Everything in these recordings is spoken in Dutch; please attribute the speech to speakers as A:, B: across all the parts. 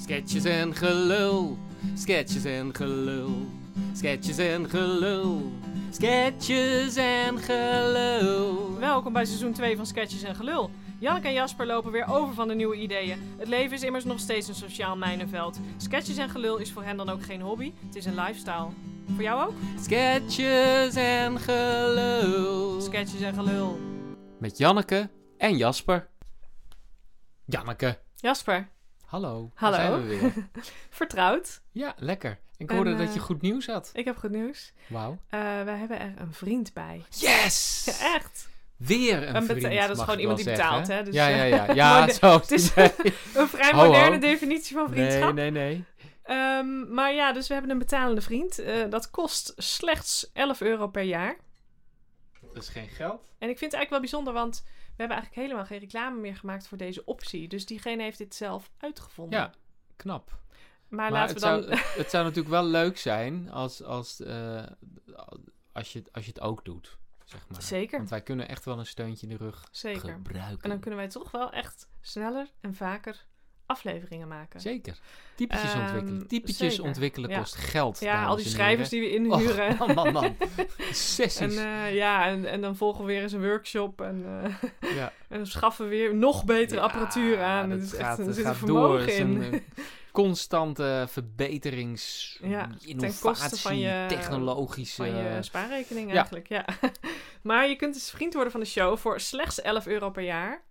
A: Sketches en gelul, sketches en gelul, sketches en gelul, sketches en gelul.
B: Welkom bij seizoen 2 van Sketches en Gelul. Janneke en Jasper lopen weer over van de nieuwe ideeën. Het leven is immers nog steeds een sociaal mijnenveld. Sketches en Gelul is voor hen dan ook geen hobby, het is een lifestyle. Voor jou ook?
A: Sketches en gelul.
B: Sketches en Gelul.
A: Met Janneke en Jasper. Janneke,
B: Jasper,
A: hallo.
B: Hallo.
A: Daar zijn we weer.
B: vertrouwd.
A: ja, lekker. Ik
B: En,
A: hoorde
B: eh,
A: dat je goed nieuws had.
B: Ik heb goed nieuws. Eh,
A: Wauw.
B: wij hebben er een vriend bij.
A: Yes!
B: Echt?
A: Weer een
B: Een bet-
A: vriend,
B: ja, dat is
A: mag
B: gewoon
A: ik wel
B: iemand die
A: zeggen.
B: betaalt, hè, dus,
A: ja,
B: eh,
A: ja, ja. Ja,
B: maar
A: zo.
B: het is-
A: nee.
B: Een vrij
A: Ho, ho.
B: moderne definitie van vriendschap.
A: nee, nee, nee.
B: Ehm, maar ja, dus we hebben een betalende vriend. Eh, dat kost slechts 11 euro per jaar.
A: Dat is geen geld.
B: En ik vind het eigenlijk wel bijzonder, want we hebben eigenlijk helemaal geen reclame meer gemaakt voor deze optie. Dus diegene heeft dit zelf uitgevonden.
A: Ja, knap.
B: Maar,
A: Maar
B: laten we
A: het,
B: dan...
A: zou, het- het zou natuurlijk wel leuk zijn als, als, eh, als, je, het- als je het ook doet, zeg maar.
B: Zeker,
A: Want wij kunnen echt wel een steuntje in de rug
B: zeker.
A: gebruiken.
B: En dan kunnen wij toch wel echt sneller en vaker afleveringen maken.
A: Zeker. Typetjes ontwikkelen.
B: Ehm,
A: Typetjes
B: zeker.
A: ontwikkelen
B: Ja.
A: kost geld,
B: Ja, al die schrijvers die we inhuren.
A: huren. Oh, man, man, man. Sessies.
B: En eh, ja, en, en dan volgen we weer eens een workshop en, eh,
A: ja.
B: en dan schaffen we weer nog betere
A: Ja,
B: apparatuur aan.
A: dat
B: Het is echt-
A: gaat,
B: er
A: dat
B: zit een
A: gaat door.
B: vermogen
A: Het is
B: in.
A: een eh, constante verbeterings,
B: Ja, ten koste
A: innovatie,
B: van je-
A: technologische...
B: Van je spaarrekening
A: ja.
B: eigenlijk, ja. maar je kunt dus vriend worden van de show voor slechts 11 euro per jaar.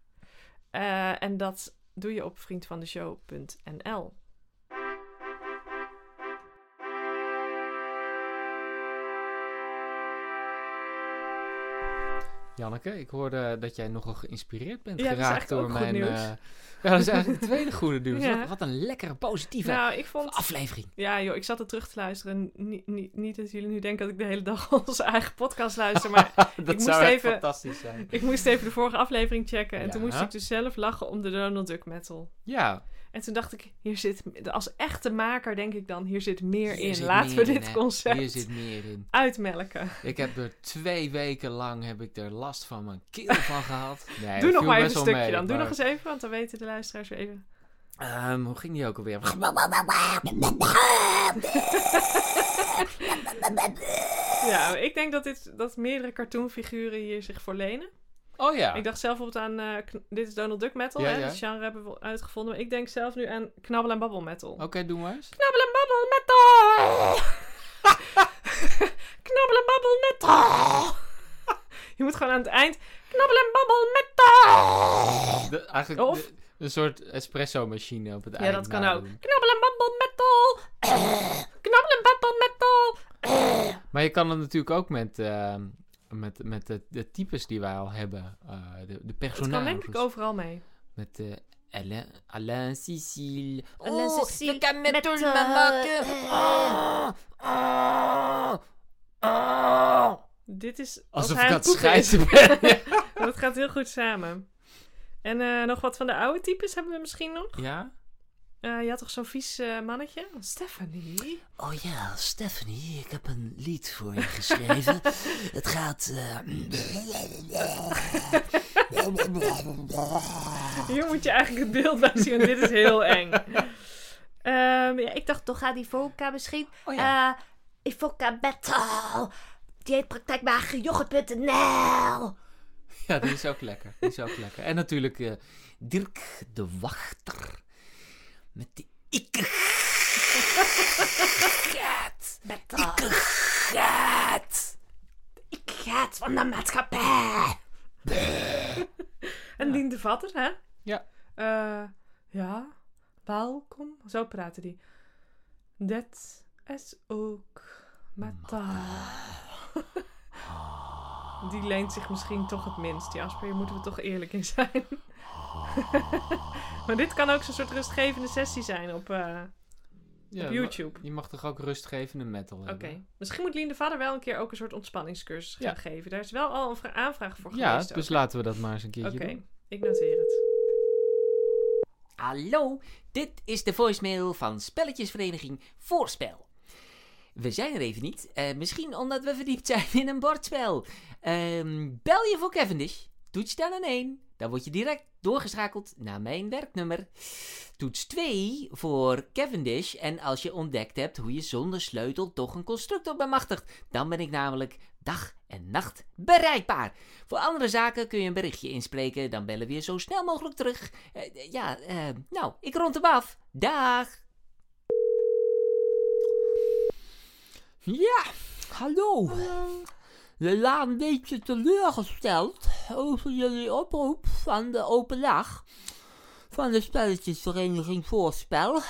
B: Eh, en dat doe je op vriendvandeshow.nl.
A: Janneke, ik hoorde dat jij nogal geïnspireerd bent
B: Ja, dat is
A: geraakt door
B: eigenlijk ook
A: mijn.
B: goed
A: eh, ja, dat is eigenlijk het tweede goede nieuws.
B: Ja.
A: Wat, wat een lekkere, positieve
B: Nou, ik vond...
A: aflevering.
B: Ja joh, ik zat er terug te luisteren. Ni- ni- niet dat jullie nu denken dat ik de hele dag onze eigen podcast luister, maar
A: dat
B: moest
A: zou echt
B: even-
A: fantastisch zijn.
B: ik moest even de vorige aflevering checken. En toen
A: Ja.
B: moest ik dus zelf lachen om de Donald Duck metal.
A: Ja,
B: En toen dacht ik, hier zit, als echte maker denk ik dan, hier zit meer
A: Hier
B: in.
A: zit
B: Laten
A: meer
B: we
A: in,
B: dit
A: hè.
B: concept
A: hier zit meer in.
B: uitmelken.
A: Ik heb er twee weken lang heb ik er last van mijn keel van gehad. Nee,
B: Doe
A: dat viel
B: nog maar even
A: best wel
B: een stukje
A: mee,
B: dan. Doe
A: maar-
B: nog eens even, want dan weten de luisteraars weer even.
A: Ehm, hoe ging die ook alweer? Oh.
B: Ja, ik denk dat, dit, dat meerdere cartoonfiguren hier zich voor lenen.
A: Oh ja.
B: Ik dacht zelf bijvoorbeeld aan... eh, kn- dit is Donald Duck metal,
A: Ja,
B: hè?
A: ja.
B: Dat genre hebben we uitgevonden. Maar ik denk zelf nu aan knabbel en babbel metal.
A: Oké, doe maar eens.
B: Knabbel en babbel metal! knabbel en babbel metal! Je moet gewoon aan het eind... Knabbel en babbel metal!
A: De- eigenlijk
B: Of-
A: de- een soort espresso-machine op het
B: Ja,
A: eind. nou.
B: dat kan ook.
A: nadoen.
B: Knabbel en babbel metal! Knabbel en babbel metal!
A: Maar je kan het natuurlijk ook met, eh, met, met de, de types die wij al hebben, eh, de, de
B: Dat kan
A: personages.
B: denk ik overal mee.
A: Met eh, Alain, Alain Oh, Cecile.
C: Alain Cecile
A: ik kan met,
C: met,
A: ons
C: eh,
A: maken.
C: eh.
A: Ah, ah, ah.
B: Dit is... als
A: Alsof
B: hij
A: ik
B: aan
A: aan
B: het
A: het
B: poepen is.
A: schrijven ben. Ja.
B: Maar Dat gaat heel goed samen. En eh, nog wat van de oude types hebben we misschien nog.
A: ja?
B: Eh, je had toch zo'n vies eh, mannetje? Stephanie.
C: Oh ja, Stephanie, ik heb een lied voor je geschreven. Het gaat. eh,
B: Hier moet je eigenlijk het beeld bij zien, want dit is heel eng. Ehm, ja, ik dacht toch...
C: Toch gaat die Volka misschien.
A: Oh
C: Eh Ivoca Battle. Dieetpraktijkwagenjoghurt.nl.
A: Ja, die is ook lekker. Die is ook lekker. En natuurlijk eh, Dirk de Wachter. Met die ikke.
C: Battle. Ik gaat. Ik gaat van de maatschappij.
B: En Dien de Vatter, hè?
A: Ja.
B: Eh, ja. Welkom. Zo praten die. Dat is ook metaal.
A: Ah.
B: Die leent zich misschien toch het minst, Jasper. Hier moeten we toch eerlijk in zijn. maar dit kan ook zo'n soort rustgevende sessie zijn op... eh,
A: Ah. Ja,
B: Op YouTube.
A: Je mag toch ook rustgevende metal
B: Oké.
A: hebben?
C: Ehm,
B: Misschien moet Lien de Vader wel een keer ook een soort ontspanningscursus gaan
A: Ja.
B: geven. Daar is wel al een vra- aanvraag voor
A: Ja,
B: geweest.
A: dus laten we dat maar eens een
B: ook.
A: keertje
B: Oké,
A: doen.
B: ik noteer het.
D: Hallo, dit is de voicemail van spelletjesvereniging Voorspel. We zijn er even niet, eh, misschien omdat we verdiept zijn in een bordspel. Ehm, bel je voor Cavendish, toets dan aan 1, dan word je direct doorgeschakeld naar mijn werknummer. Toets 2 voor Cavendish en als je ontdekt hebt hoe je zonder sleutel toch een constructor bemachtigt, dan ben ik namelijk dag en nacht bereikbaar. Voor andere zaken kun je een berichtje inspreken, dan bellen we je zo snel mogelijk terug. Eh, eh, ja, eh, nou, ik rond hem af. Dag!
C: Ja, hallo.
E: Ehm,
C: Helaas een beetje teleurgesteld over jullie oproep van de open dag van de spelletjesvereniging Voorspel.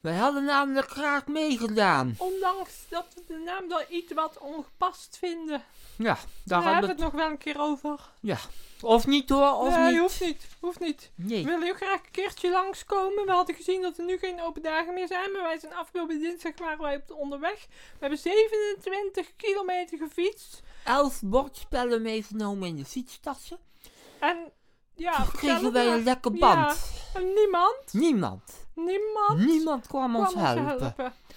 C: Wij hadden namelijk graag meegedaan.
E: Ondanks dat we de naam dan iets wat ongepast vinden.
C: Ja, daar
E: Daar hebben we
C: hadden
E: het
C: we...
E: nog wel een keer over.
C: Of niet hoor, of
E: nee,
C: niet.
E: hoeft niet. Hoeft niet.
C: Nee.
E: Wil je graag een keertje langskomen? We hadden gezien dat er nu geen open dagen meer zijn. Maar wij zijn afgelopen dinsdag waren wij op de onderweg. We hebben 27 kilometer gefietst.
C: Elf bordspellen meegenomen in de fietstassen.
E: En ja,
C: Toen
E: vertel
C: kregen
E: het
C: wij
E: maar.
C: een lekker
E: Ja.
C: band.
E: En niemand,
C: Niemand.
E: niemand
C: Niemand kwam
E: kwam
C: ons helpen.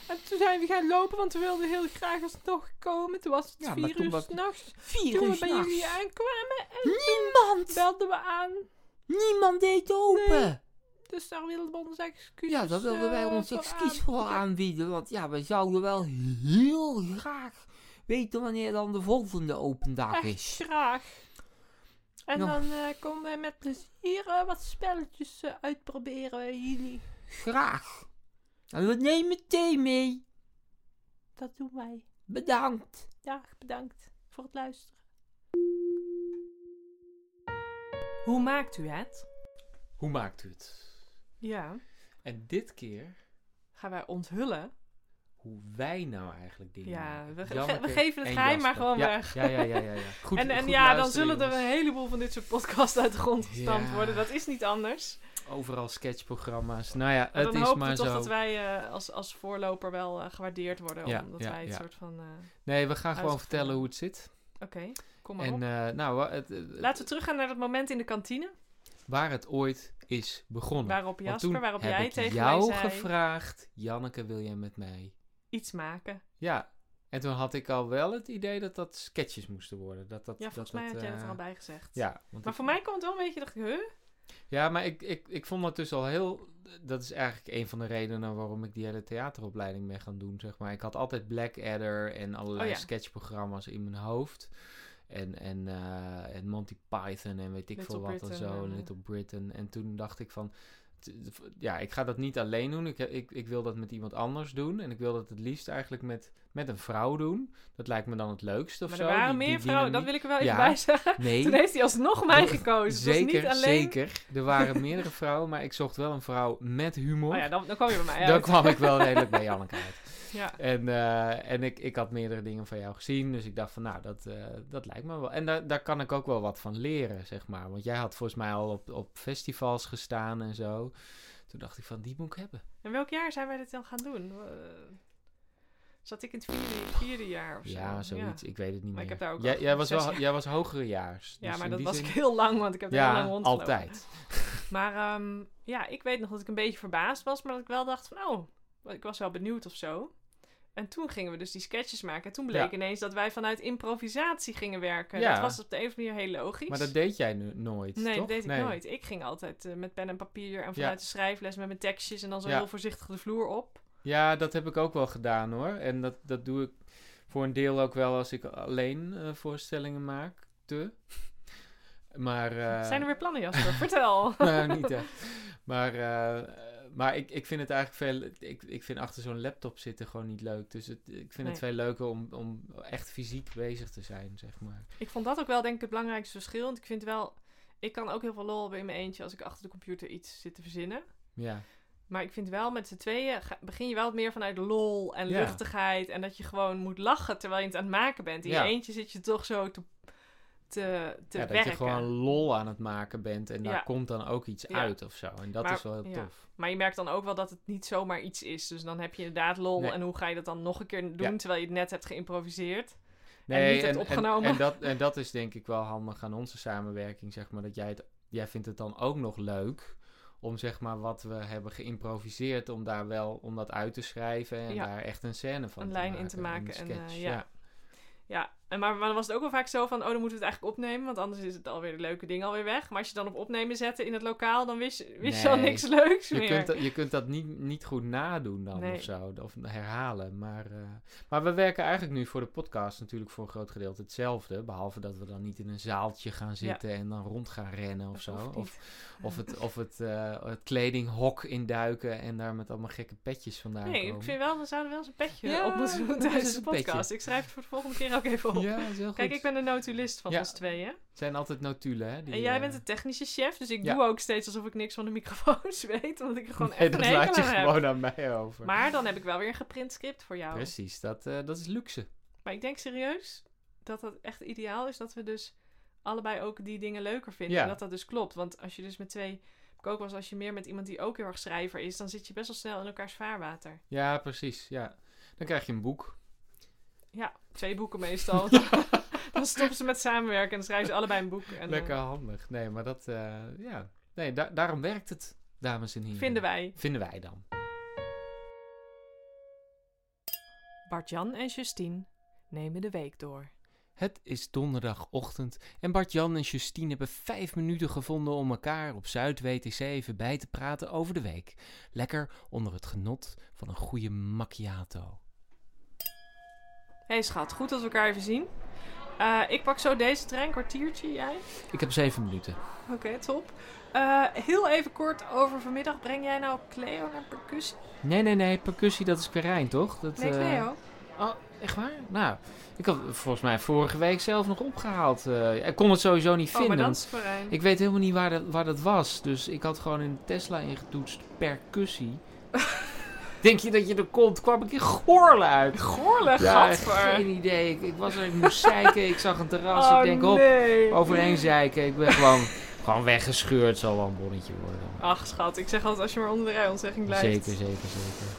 E: En toen zijn we gaan lopen, want we wilden heel graag alsnog komen. Toen was het
C: Ja, maar
E: vier
C: toen
E: uur
C: was-
E: s'nachts.
C: Vier
E: Toen
C: uur
E: we bij
C: s'nachts.
E: jullie aankwamen,
C: Niemand.
E: belden we aan.
C: Niemand deed open.
E: Nee. Dus daar wilden we ons excuses
C: Ja, daar wilden wij
E: eh,
C: ons
E: voor
C: excuus
E: aan-
C: voor aanbieden. Want ja, we zouden wel heel graag weten wanneer dan de volgende open dag
E: Echt
C: is.
E: graag. En
C: Ja.
E: dan eh, konden wij met plezier eh, wat spelletjes eh, uitproberen bij jullie.
C: Graag. En we nemen thee mee.
E: Dat doen wij.
C: Bedankt.
E: Dag, bedankt voor het luisteren.
B: Hoe maakt u het?
A: Hoe maakt u het?
B: Ja,
A: En dit keer
B: gaan wij onthullen.
A: hoe wij nou eigenlijk dingen
B: Ja,
A: maken.
B: we, ge-
A: Janneke
B: we geven het
A: en
B: geheim maar
A: Jasper.
B: gewoon
A: ja,
B: weg.
A: Ja, ja, ja, ja. ja. Goed,
B: en en
A: goed
B: ja, dan
A: luisteren,
B: zullen er een
A: jongens.
B: heleboel van dit soort podcasts uit de grond gestampt
A: Ja.
B: worden. Dat is niet anders.
A: Overal sketchprogramma's. Nou ja, het
B: Maar dan
A: is
B: hopen we
A: maar
B: toch
A: zo.
B: dat wij eh, als, als voorloper wel eh, gewaardeerd worden.
A: Ja,
B: omdat
A: ja,
B: wij het
A: ja.
B: soort van... eh,
A: Nee, we gaan gewoon
B: Uitgevonden.
A: vertellen hoe het zit.
B: Oké, kom maar
A: En
B: op.
A: eh, nou, wa- het, het-
B: Laten we teruggaan naar dat moment in de kantine.
A: waar het ooit is begonnen.
B: Waarop
A: Want
B: Jasper,
A: toen
B: waarop
A: heb
B: jij
A: ik
B: tegen
A: jou
B: mij zei...
A: gevraagd, Janneke, wil jij met mij?
B: Iets maken.
A: Ja. En toen had ik al wel het idee dat dat sketches moesten worden. Dat, dat,
B: Ja, volgens
A: dat,
B: mij had jij dat
A: eh,
B: er al bij gezegd.
A: Ja, want
B: Maar
A: ik-
B: voor mij kwam het wel een beetje, dacht ik, huh?
A: Ja, maar ik, ik, ik vond dat dus al heel... Dat is eigenlijk een van de redenen waarom ik die hele theateropleiding ben gaan doen, zeg maar. Ik had altijd Blackadder en allerlei
B: Oh ja.
A: sketchprogramma's in mijn hoofd. En, en, eh, en Monty Python en weet ik
B: Little
A: veel wat en
B: Britain,
A: zo. en
B: eh.
A: Little Britain. En toen dacht ik van... t- v- Ja, ik ga dat niet alleen doen. Ik, ik, ik wil dat met iemand anders doen. En ik wil dat het liefst eigenlijk met, met een vrouw doen. Dat lijkt me dan het leukst of
B: maar
A: zo.
B: er waren
A: die- die
B: meer vrouwen, dat
A: dynamiek.
B: wil ik er wel even
A: Ja.
B: bij zeggen.
A: Nee.
B: Toen heeft hij alsnog mij gekozen. Oh, het was
A: Zeker,
B: niet alleen...
A: zeker. Er waren meerdere vrouwen, maar ik zocht wel een vrouw met humor.
B: Oh ja, dan, dan kwam je bij mij uit.
A: Dan kwam ik wel redelijk bij Janneke uit.
B: Ja.
A: En, eh, en ik, ik had meerdere dingen van jou gezien, dus ik dacht van nou, dat, eh, dat lijkt me wel. En daar, daar kan ik ook wel wat van leren, zeg maar. Want jij had volgens mij al op, op festivals gestaan en zo. Toen dacht ik van, die moet ik hebben.
B: En welk jaar zijn wij dit dan gaan doen? Eh, zat ik in het vierde, vierde jaar of zo?
A: ja, zoiets. Ik weet het niet
B: Maar
A: meer.
B: ik heb daar ook
A: jij,
B: al
A: jij was
B: zes
A: wel,
B: jaar.
A: jij was hogerejaars.
B: Ja,
A: dus
B: maar
A: in
B: dat
A: die
B: was
A: zin-
B: ik heel lang, want ik heb er heel lang
A: Ja,
B: rondgelopen.
A: altijd.
B: Maar ehm, ja, ik weet nog dat ik een beetje verbaasd was, maar dat ik wel dacht van, oh, ik was wel benieuwd of zo. En toen gingen we dus die sketches maken. En toen bleek
A: Ja.
B: ineens dat wij vanuit improvisatie gingen werken.
A: Ja.
B: Dat was op de een of andere manier heel logisch.
A: Maar dat deed jij nu nooit,
B: nee,
A: toch?
B: dat deed ik nooit. Ik ging altijd eh, met pen en papier en vanuit de schrijfles met mijn tekstjes en dan zo
A: Ja.
B: heel voorzichtig de vloer op.
A: Ja, dat heb ik ook wel gedaan hoor. En dat, dat doe ik voor een deel ook wel als ik alleen eh, voorstellingen maak. Te. Maar. eh,
B: Zijn er weer plannen, Jasper? Vertel.
A: nou, niet echt. Maar, eh, maar ik, ik vind het eigenlijk veel. Ik, ik vind achter zo'n laptop zitten gewoon niet leuk. Dus het, ik vind het
B: Nee.
A: veel leuker om, om echt fysiek bezig te zijn, zeg maar.
B: Ik vond dat ook wel denk ik het belangrijkste verschil. Want ik vind wel, ik kan ook heel veel lol hebben in mijn eentje als ik achter de computer iets zit te verzinnen.
A: Ja.
B: Maar ik vind wel met z'n tweeën ga- begin je wel wat meer vanuit lol en
A: Ja.
B: luchtigheid. En dat je gewoon moet lachen terwijl je het aan het maken bent. In
A: Ja.
B: je eentje zit je toch zo te, te, te
A: ja dat
B: werken.
A: je gewoon lol aan het maken bent en daar
B: Ja.
A: komt dan ook iets
B: Ja.
A: uit of zo. En dat
B: Maar-
A: is wel heel
B: ja.
A: tof.
B: Maar je merkt dan ook wel dat het niet zomaar iets is. Dus dan heb je inderdaad lol.
A: Nee.
B: En hoe ga je dat dan nog een keer doen
A: Ja.
B: terwijl je het net hebt geïmproviseerd?
A: Nee,
B: niet hebt opgenomen.
A: En, dat, en dat is denk ik wel handig aan onze samenwerking, zeg maar. Dat jij het, jij vindt het dan ook nog leuk om zeg maar wat we hebben geïmproviseerd, om daar wel, om dat uit te schrijven en
B: Ja.
A: daar echt een scène van
B: Een
A: te
B: lijn in
A: maken,
B: te maken
A: Een
B: en,
A: sketch,
B: eh,
A: ja.
B: ja. Ja, En maar, maar dan was het ook wel vaak zo van, oh, dan moeten we het eigenlijk opnemen, want anders is het alweer de leuke ding alweer weg. Maar als je dan op opnemen zette in het lokaal, dan wist je, wist je al
A: Nee.
B: niks leuks
A: Je
B: meer.
A: kunt, dat- je kunt dat niet, niet goed nadoen dan
B: Nee.
A: of zo, of herhalen. Maar, eh, maar we werken eigenlijk nu voor de podcast natuurlijk voor een groot gedeelte hetzelfde. Behalve dat we dan niet in een zaaltje gaan zitten en dan rond gaan rennen of
B: Dat
A: zo.
B: hoeft niet.
A: Of, of het, of het, eh, het kledinghok induiken en daar met allemaal gekke petjes vandaan
B: nee,
A: komen.
B: ik vind wel, we zouden wel eens een petje
A: Ja,
B: op moeten doen
A: dat
B: tijdens
A: is
B: de
A: een petje.
B: podcast. Ik schrijf het voor de volgende keer ook even op.
A: Ja, dat is heel goed.
B: Kijk, ik ben de notulist van
A: Ja.
B: ons tweeën.
A: Het zijn altijd notulen, hè? die,
B: en jij
A: eh,
B: bent de technische chef, dus ik
A: ja.
B: doe ook steeds alsof ik niks van de microfoons weet, omdat ik er gewoon
A: Nee,
B: echt
A: dat
B: een
A: laat
B: hekel
A: je
B: aan heb.
A: gewoon aan mij over.
B: Maar dan heb ik wel weer een geprint script voor jou.
A: Precies, dat, eh, dat is luxe.
B: Maar ik denk serieus dat dat echt ideaal is dat we dus allebei ook die dingen leuker vinden.
A: Ja.
B: En dat dat dus klopt. Want als je dus met twee. heb Ik ook was als je meer met iemand die ook heel erg schrijver is, dan zit je best wel snel in elkaars vaarwater.
A: Ja, precies, ja. Dan krijg je een boek.
B: Ja, twee boeken meestal. dan stoppen ze met samenwerken en dan schrijven ze allebei een boek. En, eh,
A: Lekker handig. Nee, maar dat, eh, ja. Nee, da- daarom werkt het, dames en heren.
B: vinden wij.
A: Vinden wij dan.
B: Bart-Jan en Justine nemen de week door.
A: Het is donderdagochtend en Bart-Jan en Justine hebben vijf minuten gevonden om elkaar op Zuid-WTC even bij te praten over de week. Lekker onder het genot van een goede macchiato.
B: Hé hey schat, goed dat we elkaar even zien. Eh, ik pak zo deze trein, kwartiertje jij.
A: Ik heb zeven minuten.
B: Oké, top. Eh, heel even kort over vanmiddag. Breng jij nou Cleo naar percussie?
A: Nee, nee, nee, percussie dat is Querijn, toch? Dat,
B: Nee,
A: eh,
B: Cleo.
A: Oh, echt waar? Nou, ik had volgens mij vorige week zelf nog opgehaald. eh, ik kon het sowieso niet
B: Oh,
A: vinden.
B: maar dan
A: want
B: is het Florijn.
A: Ik weet helemaal niet waar dat, waar dat was. Dus ik had gewoon in Tesla ingetoetst percussie. Denk je dat je er komt? Kwam ik in Goorlen uit.
B: Goorle, gadver.
A: geen idee. Ik, ik was er, ik moest zeiken. Ik zag een terras.
B: Oh,
A: ik denk, hop,
B: nee.
A: overheen zeiken. Ik ben gewoon, gewoon weggescheurd. Zal wel een bonnetje worden.
B: Ach, schat. Ik zeg altijd als je maar onder de rijontzegging Oh, blijft.
A: Zeker, zeker, zeker.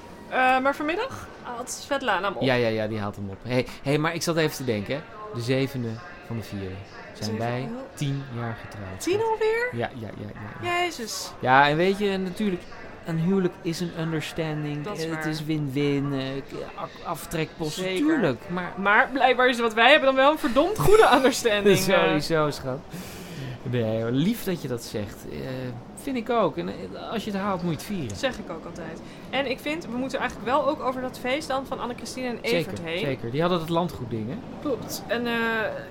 B: Eh, maar vanmiddag had Svetlana hem op.
A: Ja, ja, ja, die haalt hem op. Hé, hey, hey, maar ik zat even te denken. hè. De zevende van de vierde zijn
B: Zeven
A: wij
B: heel-
A: tien jaar getrouwd.
B: Tien alweer?
A: Ja, ja, ja, ja. ja.
B: Jezus.
A: Ja, en weet je, natuurlijk, een huwelijk is een understanding.
B: Dat is
A: Eh, het
B: waar.
A: is win-win, eh, k- a- aftrekpost,
B: Zeker.
A: tuurlijk. Maar
B: Maar blijkbaar is wat wij hebben dan wel een verdomd goede understanding. eh.
A: sowieso, schat. Nee, hoor, lief dat je dat zegt. Eh, vind ik ook. En eh, als je het haalt, moet je het vieren.
B: Dat zeg ik ook altijd. En ik vind, we moeten eigenlijk wel ook over dat feest dan van Anne-Christine en Evert
A: Zeker,
B: heen.
A: zeker. Die hadden het landgoed ding, hè?
B: Klopt. En eh,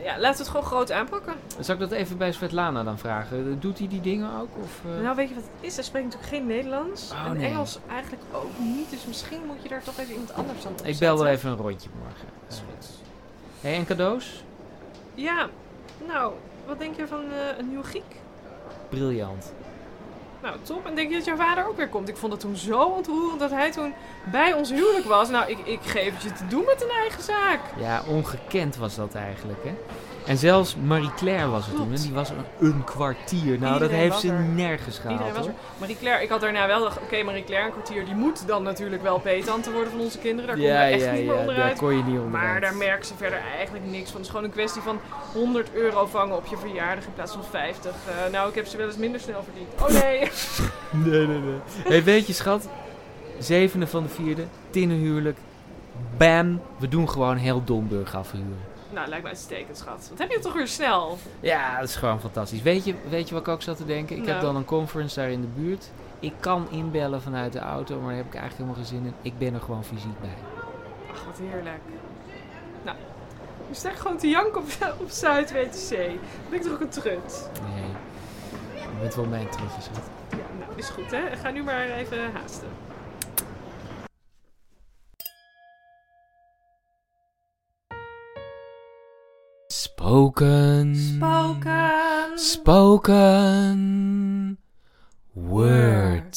B: ja, laten we het gewoon groot aanpakken.
A: Zal ik dat even bij Svetlana dan vragen? Eh, Doet hij die dingen ook? Of, eh?
B: Nou, weet je wat het is? Hij spreekt natuurlijk geen Nederlands.
A: Oh,
B: en
A: nee.
B: Engels eigenlijk ook niet. Dus misschien moet je daar toch even iemand anders dan op
A: ik bel wel
B: zetten.
A: even een rondje morgen. Hé, en cadeaus?
B: Ja, nou, wat denk je van eh, een nieuw Griek?
A: Briljant.
B: Nou, top. En denk je dat jouw vader ook weer komt? Ik vond het toen zo ontroerend dat hij toen bij ons huwelijk was. Nou, ik, ik geef het je te doen met een eigen zaak.
A: Ja, ongekend was dat eigenlijk, hè? En zelfs Marie-Claire was het toen, en
B: Klopt.
A: die was een, een kwartier. Nou, dat
B: Iedereen
A: heeft
B: was
A: ze
B: er.
A: nergens gehaald,
B: Iedereen was
A: hoor.
B: er. Marie-Claire, ik had daarna wel gedacht, oké, Marie-Claire, een kwartier, die moet dan natuurlijk wel peetante worden van onze kinderen. Daar komen
A: Ja,
B: we echt
A: ja,
B: niet meer
A: ja, daar
B: onderuit.
A: kon je niet onderuit.
B: Maar daar merken ze verder eigenlijk niks van. Het is gewoon een kwestie van 100 euro vangen op je verjaardag in plaats van 50. Eh, nou, ik heb ze wel eens minder snel verdiend. Oh nee.
A: Nee, nee, nee. Hé, weet je, schat? Zevende van de vierde, tinnenhuwelijk. Bam, we doen gewoon heel Domburg afhuren.
B: nou, lijkt me uitstekend, schat. Wat heb je toch weer snel?
A: Ja, dat is gewoon fantastisch. Weet je, weet je wat ik ook zat te denken? Ik heb
B: Nou.
A: dan een conference daar in de buurt. Ik kan inbellen vanuit de auto, maar daar heb ik eigenlijk helemaal geen zin in. Ik ben er gewoon fysiek bij.
B: Ach, wat heerlijk. Nou, we staan gewoon te janken op, op Zuid-WTC. Ben ik toch ook een trut?
A: Nee, je bent wel mijn trucje, schat.
B: Ja, nou, is goed, hè. Ga nu maar even haasten.
A: Spoken.
B: Spoken.
A: Spoken. Word.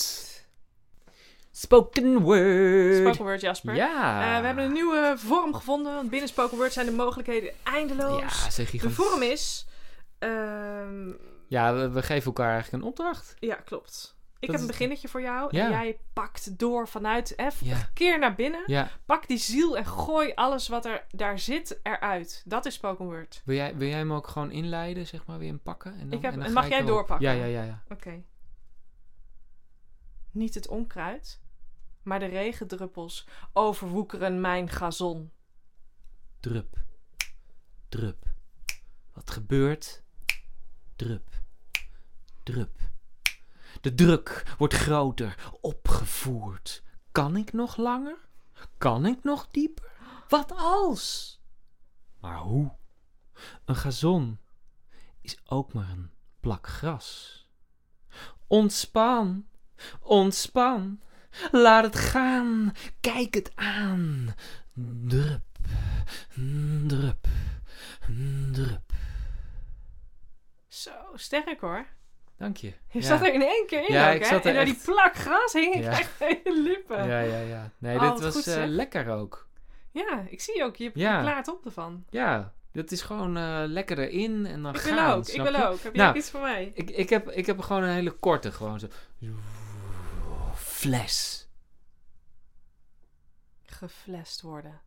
A: Spoken word.
B: Spoken word, Jasper.
A: Ja.
B: Eh, we hebben een nieuwe vorm gevonden, want binnen Spoken Word zijn de mogelijkheden eindeloos.
A: Ja, zeg
B: de
A: gigantisch.
B: vorm is... ehm,
A: Ja, we, we geven elkaar eigenlijk een opdracht.
B: ja, klopt. Ik
A: Dat
B: heb een
A: is-
B: beginnetje voor jou
A: Ja.
B: en jij pakt door vanuit... Hè,
A: Ja.
B: Keer naar binnen,
A: Ja.
B: pak die ziel en gooi alles wat er daar zit eruit. Dat is Spoken Word.
A: Wil jij, wil jij hem ook gewoon inleiden, zeg maar, weer inpakken? En dan,
B: Ik heb-
A: en dan
B: en
A: ga
B: mag
A: ik
B: jij
A: erop.
B: doorpakken?
A: Ja, ja, ja. ja.
B: Oké. Niet het onkruid, maar de regendruppels overwoekeren mijn gazon.
A: Drup.
D: Drup. Wat gebeurt? Drup. Drup. De druk wordt groter, opgevoerd. Kan ik nog langer? Kan ik nog dieper? Wat als? Maar hoe? Een gazon is ook maar een plak gras. Ontspan, ontspan, laat het gaan, kijk het aan. Drup, Hmm, drup, Hmm, drup.
B: Zo, sterk hoor.
A: Dank je.
B: Je
A: Ja.
B: zat er in één keer in
A: Ja,
B: ook,
A: ik
B: hè?
A: zat er
B: en door
A: echt-
B: die plak gras hing ik
A: Ja.
B: echt bij je lippen. Ja.
A: Ja, ja, ja. Nee,
B: Oh,
A: dit
B: wat
A: was
B: goed,
A: eh,
B: zeg.
A: lekker ook.
B: ik zie ook. Je, je
A: Ja.
B: klaart op ervan.
A: Ja, dit is gewoon eh, lekker erin en dan
B: Ik
A: gaan.
B: wil ook, ik
A: snap
B: wil
A: je?
B: ook. Heb je
A: Nou,
B: ook iets voor mij?
A: Ik, ik, heb, ik heb gewoon een hele korte, gewoon zo.
D: Fles.
B: geflest worden.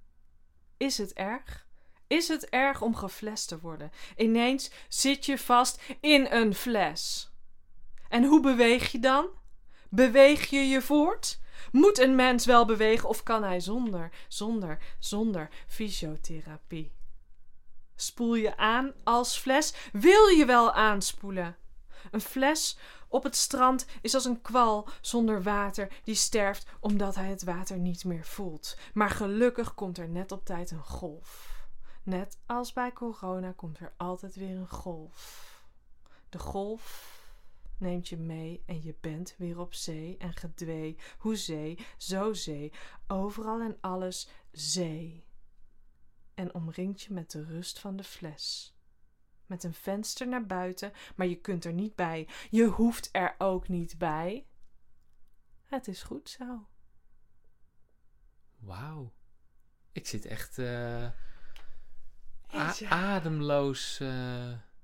B: Is het erg? Is het erg om geflest te worden? Ineens zit je vast in een fles. En hoe beweeg je dan? Beweeg je je voort? Moet een mens wel bewegen of kan hij zonder, zonder, zonder fysiotherapie? Spoel je aan als fles? Wil je wel aanspoelen? Een fles op het strand is als een kwal zonder water die sterft omdat hij het water niet meer voelt. Maar gelukkig komt er net op tijd een golf. Net als bij corona komt er altijd weer een golf. De golf neemt je mee en je bent weer op zee en gedwee. Hoe zee, zo zee, overal en alles zee. En omringt je met de rust van de fles. Met een venster naar buiten, maar je kunt er niet bij. Je hoeft er ook niet bij. Het is goed zo.
A: Wauw. Ik zit echt eh, a- Ah, ademloos eh,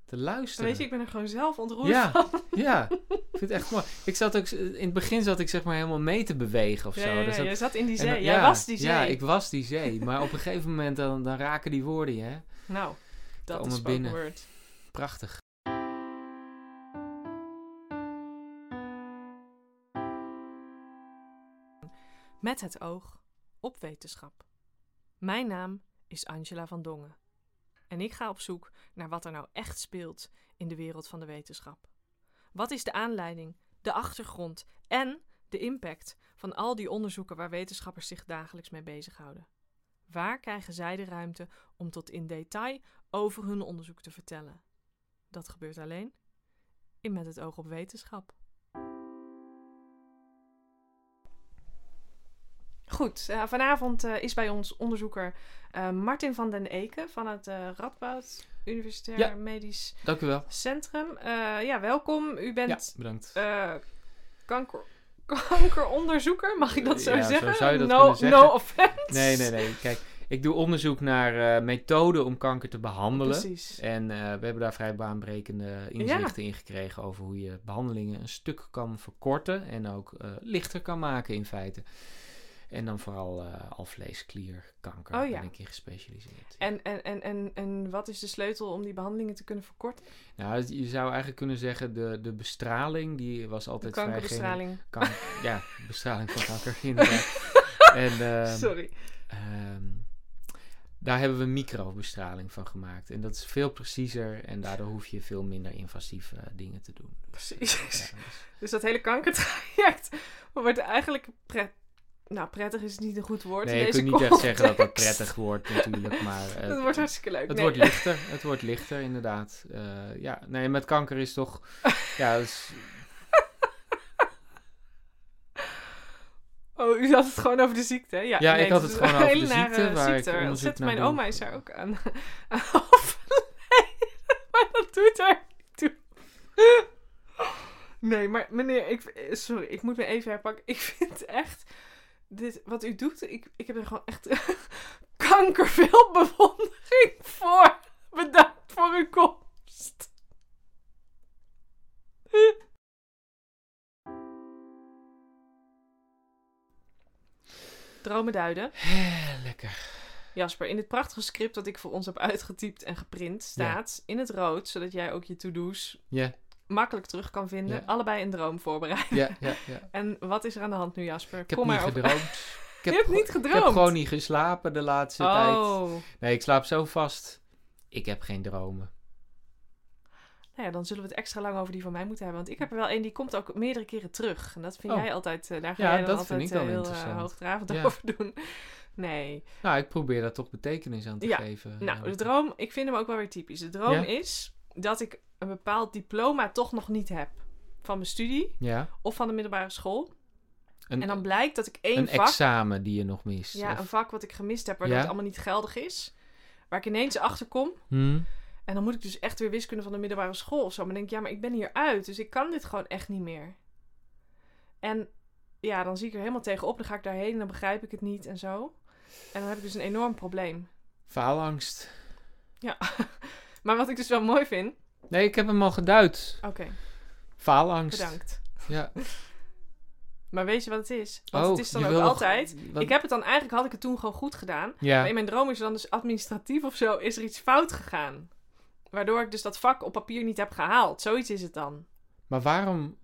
A: te luisteren.
B: Weet je, ik ben er gewoon zelf ontroerd
A: Ja.
B: van.
A: Ja, ik vind het echt mooi. Ik zat ook, in het begin zat ik zeg maar helemaal mee te bewegen of
B: Ja,
A: zo.
B: ja,
A: Daar
B: ja,
A: zat-
B: jij zat in die
A: en
B: zee.
A: dan-
B: jij
A: ja,
B: was die zee.
A: Ja, ik was die zee. Maar op een gegeven moment dan, dan raken die woorden je, hè.
B: Nou, dat
A: Komen
B: is spoken
A: binnen.
B: word.
A: Prachtig.
B: Met het oog op wetenschap. Mijn naam is Angela van Dongen. En ik ga op zoek naar wat er nou echt speelt in de wereld van de wetenschap. Wat is de aanleiding, de achtergrond en de impact van al die onderzoeken waar wetenschappers zich dagelijks mee bezighouden? Waar krijgen zij de ruimte om tot in detail over hun onderzoek te vertellen? Dat gebeurt alleen in Met het oog op wetenschap. Goed, eh, vanavond eh, is bij ons onderzoeker eh, Martin van den Eken van het eh, Radboud Universitair
A: Ja.
B: Medisch
A: Dank u wel.
B: Centrum. Eh, ja, welkom. U
A: Ja,
B: bent
A: bedankt.
B: eh, kanker, kankeronderzoeker, mag ik dat zo
A: Ja, zo
B: zeggen?
A: zou je dat
B: no,
A: kunnen zeggen.
B: No offense.
A: Nee, nee, nee. Kijk, ik doe onderzoek naar eh, methoden om kanker te behandelen.
B: Precies.
A: En eh, we hebben daar vrij baanbrekende inzichten in gekregen over hoe je behandelingen een stuk kan verkorten en ook eh, lichter kan maken in feite. En dan vooral eh alvleesklierkanker
B: Oh ja.
A: ben ik in gespecialiseerd.
B: En, en, en, en, en wat is de sleutel om die behandelingen te kunnen verkorten?
A: Nou, het- je zou eigenlijk kunnen zeggen de, de bestraling, die was
B: De
A: altijd vrij...
B: kankerbestraling.
A: gene- kan- ja, bestraling van kanker inderdaad. en, ehm,
B: Sorry.
A: Ehm, daar hebben we microbestraling van gemaakt. En dat is veel preciezer en daardoor hoef je veel minder invasieve eh, dingen te doen.
B: Precies.
A: Ja, dus-
B: Dus dat hele kankertraject wordt eigenlijk pret... Nou, prettig is niet een goed woord in
A: nee, je
B: deze
A: kunt niet echt zeggen dat dat
B: context.
A: prettig wordt natuurlijk, maar eh,
B: Het wordt hartstikke leuk.
A: het
B: nee.
A: wordt lichter. Het wordt lichter, inderdaad. Eh, ja, nee, met kanker is toch... Ja, dat is-
B: Oh, u had het gewoon over de ziekte, hè? Ja,
A: Ja, ik had
B: is
A: het gewoon
B: een
A: over
B: hele
A: de
B: nare
A: ziekte, waar ik onderzoek
B: Ontzettend,
A: naar
B: mijn
A: doe.
B: oma is daar ook aan, aan overleden. Maar dat doet haar niet toe. Nee, maar meneer, ik, eh, sorry, ik moet me even herpakken. Ik vind echt, dit, wat u doet, ik, ik heb er gewoon echt kanker veel bewondering voor. Bedankt voor uw komst. Dromen duiden.
A: lekker.
B: Jasper, in dit prachtige script dat ik voor ons heb uitgetypt en geprint staat in het rood, zodat jij ook je to-do's
A: Ja,
B: makkelijk terug kan vinden.
A: Ja.
B: Allebei een droom voorbereid.
A: ja, ja. ja.
B: En wat is er aan de hand nu, Jasper?
A: Ik heb
B: Kom
A: niet
B: maar op.
A: gedroomd. Ik
B: Je hebt
A: ge-
B: niet
A: Ik heb
B: gedroomd.
A: gewoon niet geslapen de laatste tijd.
B: Oh,
A: Nee, ik slaap zo vast. Ik heb geen dromen.
B: Nou ja, dan zullen we het extra lang over die van mij moeten hebben. Want ik heb er wel één, die komt ook meerdere keren terug. En dat vind
A: Oh.
B: jij altijd, eh, daar ga
A: Ja,
B: jij dan
A: dat
B: altijd
A: vind ik
B: eh,
A: dan
B: heel eh,
A: interessant.
B: hoogdravend
A: Ja.
B: over doen. Nee.
A: Nou, ik probeer daar toch betekenis aan te
B: Ja,
A: geven.
B: Nou, de droom, ik vind hem ook wel weer typisch. De droom
A: Ja?
B: is dat ik een bepaald diploma toch nog niet heb. Van mijn studie
A: Ja.
B: of van de middelbare school.
A: Een,
B: en dan blijkt dat ik één
A: een
B: vak...
A: examen die je nog mist.
B: Ja,
A: of-
B: een vak wat ik gemist heb, waardoor
A: Ja?
B: het allemaal niet geldig is. Waar ik ineens achter kom.
A: Hm?
B: En dan moet ik dus echt weer wiskunde van de middelbare school of zo. Maar dan denk ik, ja, maar ik ben hier uit. Dus ik kan dit gewoon echt niet meer. En ja, dan zie ik er helemaal tegenop. Dan ga ik daarheen en dan begrijp ik het niet en zo. En dan heb ik dus een enorm probleem.
A: Faalangst.
B: Maar wat ik dus wel mooi vind...
A: Nee, ik heb hem al geduid.
B: Oké,
A: Faalangst.
B: bedankt.
A: Ja.
B: Maar weet je wat het is? Want
A: Oh,
B: het is dan
A: je
B: ook
A: wil nog-
B: altijd...
A: wat-
B: Ik heb het dan... Eigenlijk had ik het toen gewoon goed gedaan.
A: Ja.
B: Maar in mijn droom is er dan dus administratief of zo... is er iets fout gegaan. Waardoor ik dus dat vak op papier niet heb gehaald. Zoiets is het dan.
A: Maar waarom...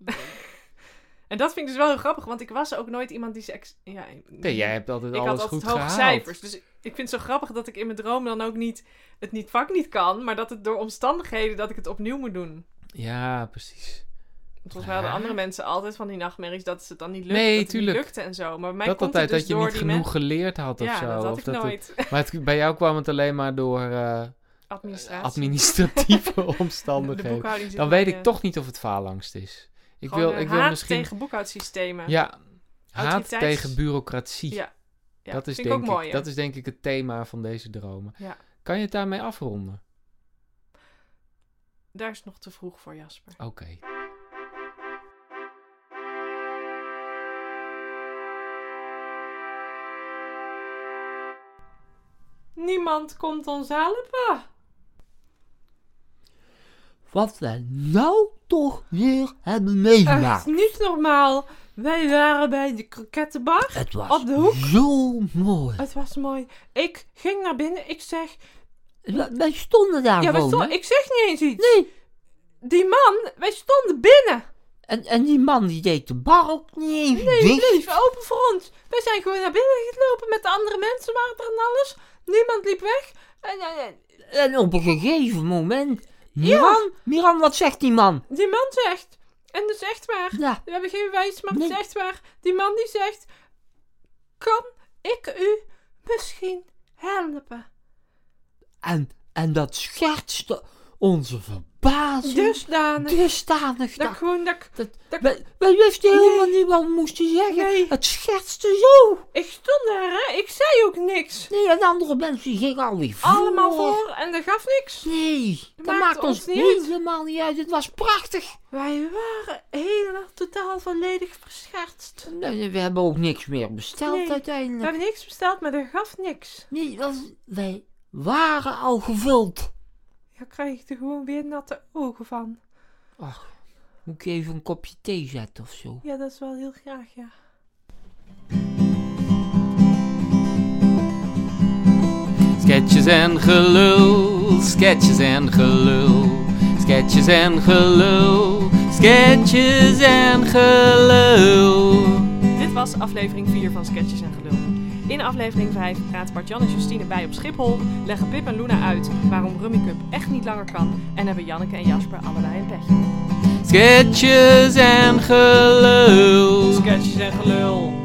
B: En dat vind ik dus wel heel grappig, want ik was ook nooit iemand die... Seks... Ja,
A: Nee, jij hebt altijd
B: ik had
A: alles
B: altijd
A: goed
B: hoge
A: gehaald.
B: cijfers. Dus ik vind het zo grappig dat ik in mijn droom dan ook niet het niet vak niet kan, maar dat het door omstandigheden dat ik het opnieuw moet doen. Want
A: Ja, precies.
B: Volgens mij hadden
A: Ja.
B: andere mensen altijd van die nachtmerries dat ze het dan niet lukte,
A: Nee,
B: dat het niet
A: tuurlijk.
B: lukte en zo. Maar bij mij
A: dat
B: komt
A: altijd
B: het
A: dat
B: dus
A: je
B: door
A: niet
B: die
A: genoeg
B: men-
A: geleerd had of
B: ja,
A: zo.
B: dat had
A: of
B: ik
A: dat het-
B: nooit.
A: Maar het, bij jou kwam het alleen maar door eh,
B: Administratie.
A: administratieve
B: de
A: omstandigheden.
B: boekhouding zit
A: Dan
B: bij
A: weet
B: je.
A: ik toch niet of het faalangst is. Ik
B: Gewoon,
A: wil,
B: eh,
A: ik wil
B: haat
A: misschien...
B: tegen boekhoudsystemen.
A: Ja, haat
B: Autoriteits-
A: tegen bureaucratie.
B: Ja. Ja,
A: dat, is
B: vind
A: denk
B: ik ook mooi. hè?
A: dat is denk ik het thema van deze dromen.
B: Ja.
A: Kan je het daarmee afronden?
B: Daar is het nog te vroeg voor, Jasper.
A: Oké.
E: Niemand komt ons helpen.
C: Wat we nou toch weer hebben
E: Echt
C: meegemaakt.
E: niet normaal. Wij waren bij de krokettenbar.
C: Het was
E: Op de hoek?
C: zo mooi.
E: Het was mooi. Ik ging naar binnen. Ik zeg...
C: We- Wij stonden daar
E: Ja, we
C: gewoon,
E: stonden-
C: hè?
E: ik zeg niet eens iets.
C: Nee,
E: Die man, wij stonden binnen.
C: en, en die man die deed de bar ook niet even
E: Die
C: dicht.
E: bleef open voor ons. Wij zijn gewoon naar binnen gelopen met de andere mensen waren er en alles. Niemand liep weg. En, en- en
C: En op een gegeven moment... Miran, Miran, wat zegt die man?
E: die man zegt... En dat is echt waar.
C: Ja,
E: We hebben geen wijs, maar
C: Nee.
E: het is echt waar. Die man die zegt... Kan ik u misschien helpen?
C: en, en dat schetste onze verbazing.
E: Dusdanig.
C: Dusdanig
E: Dus? Dat ik
C: dat-
E: gewoon dat ik...
C: Wij, wij wisten helemaal niet wat we moesten zeggen.
E: Nee.
C: Het schetste zo.
E: Ik stond daar, hè. Ik zei ook niks.
C: Nee, en andere mensen die gingen alweer voor.
E: Allemaal voor en dat gaf niks.
C: Nee, dat
E: maakt
C: maakt,
E: ons
C: ons,
E: niet uit.
C: helemaal niet uit. Het was prachtig.
E: Wij waren helemaal totaal volledig verschertst.
C: We, we hebben ook niks meer besteld
E: Nee, We
C: uiteindelijk.
E: hebben niks besteld, maar dat gaf niks.
C: Nee, dat- wij waren al gevuld.
E: Daar krijg ik er gewoon weer natte ogen van.
C: Moet ik even een kopje thee zetten of zo?
E: Ja, dat is wel heel graag, ja.
A: Sketches en gelul, sketches en gelul, sketches en gelul, sketches en gelul.
B: Dit was aflevering 4 van Sketches en Gelul. In aflevering 5 praat Bart-Jan en Justine bij op Schiphol, leggen Pip en Luna uit waarom Rummy Cup echt niet langer kan en hebben Janneke en Jasper allebei een petje.
A: Sketches en gelul.
B: Sketches en Gelul.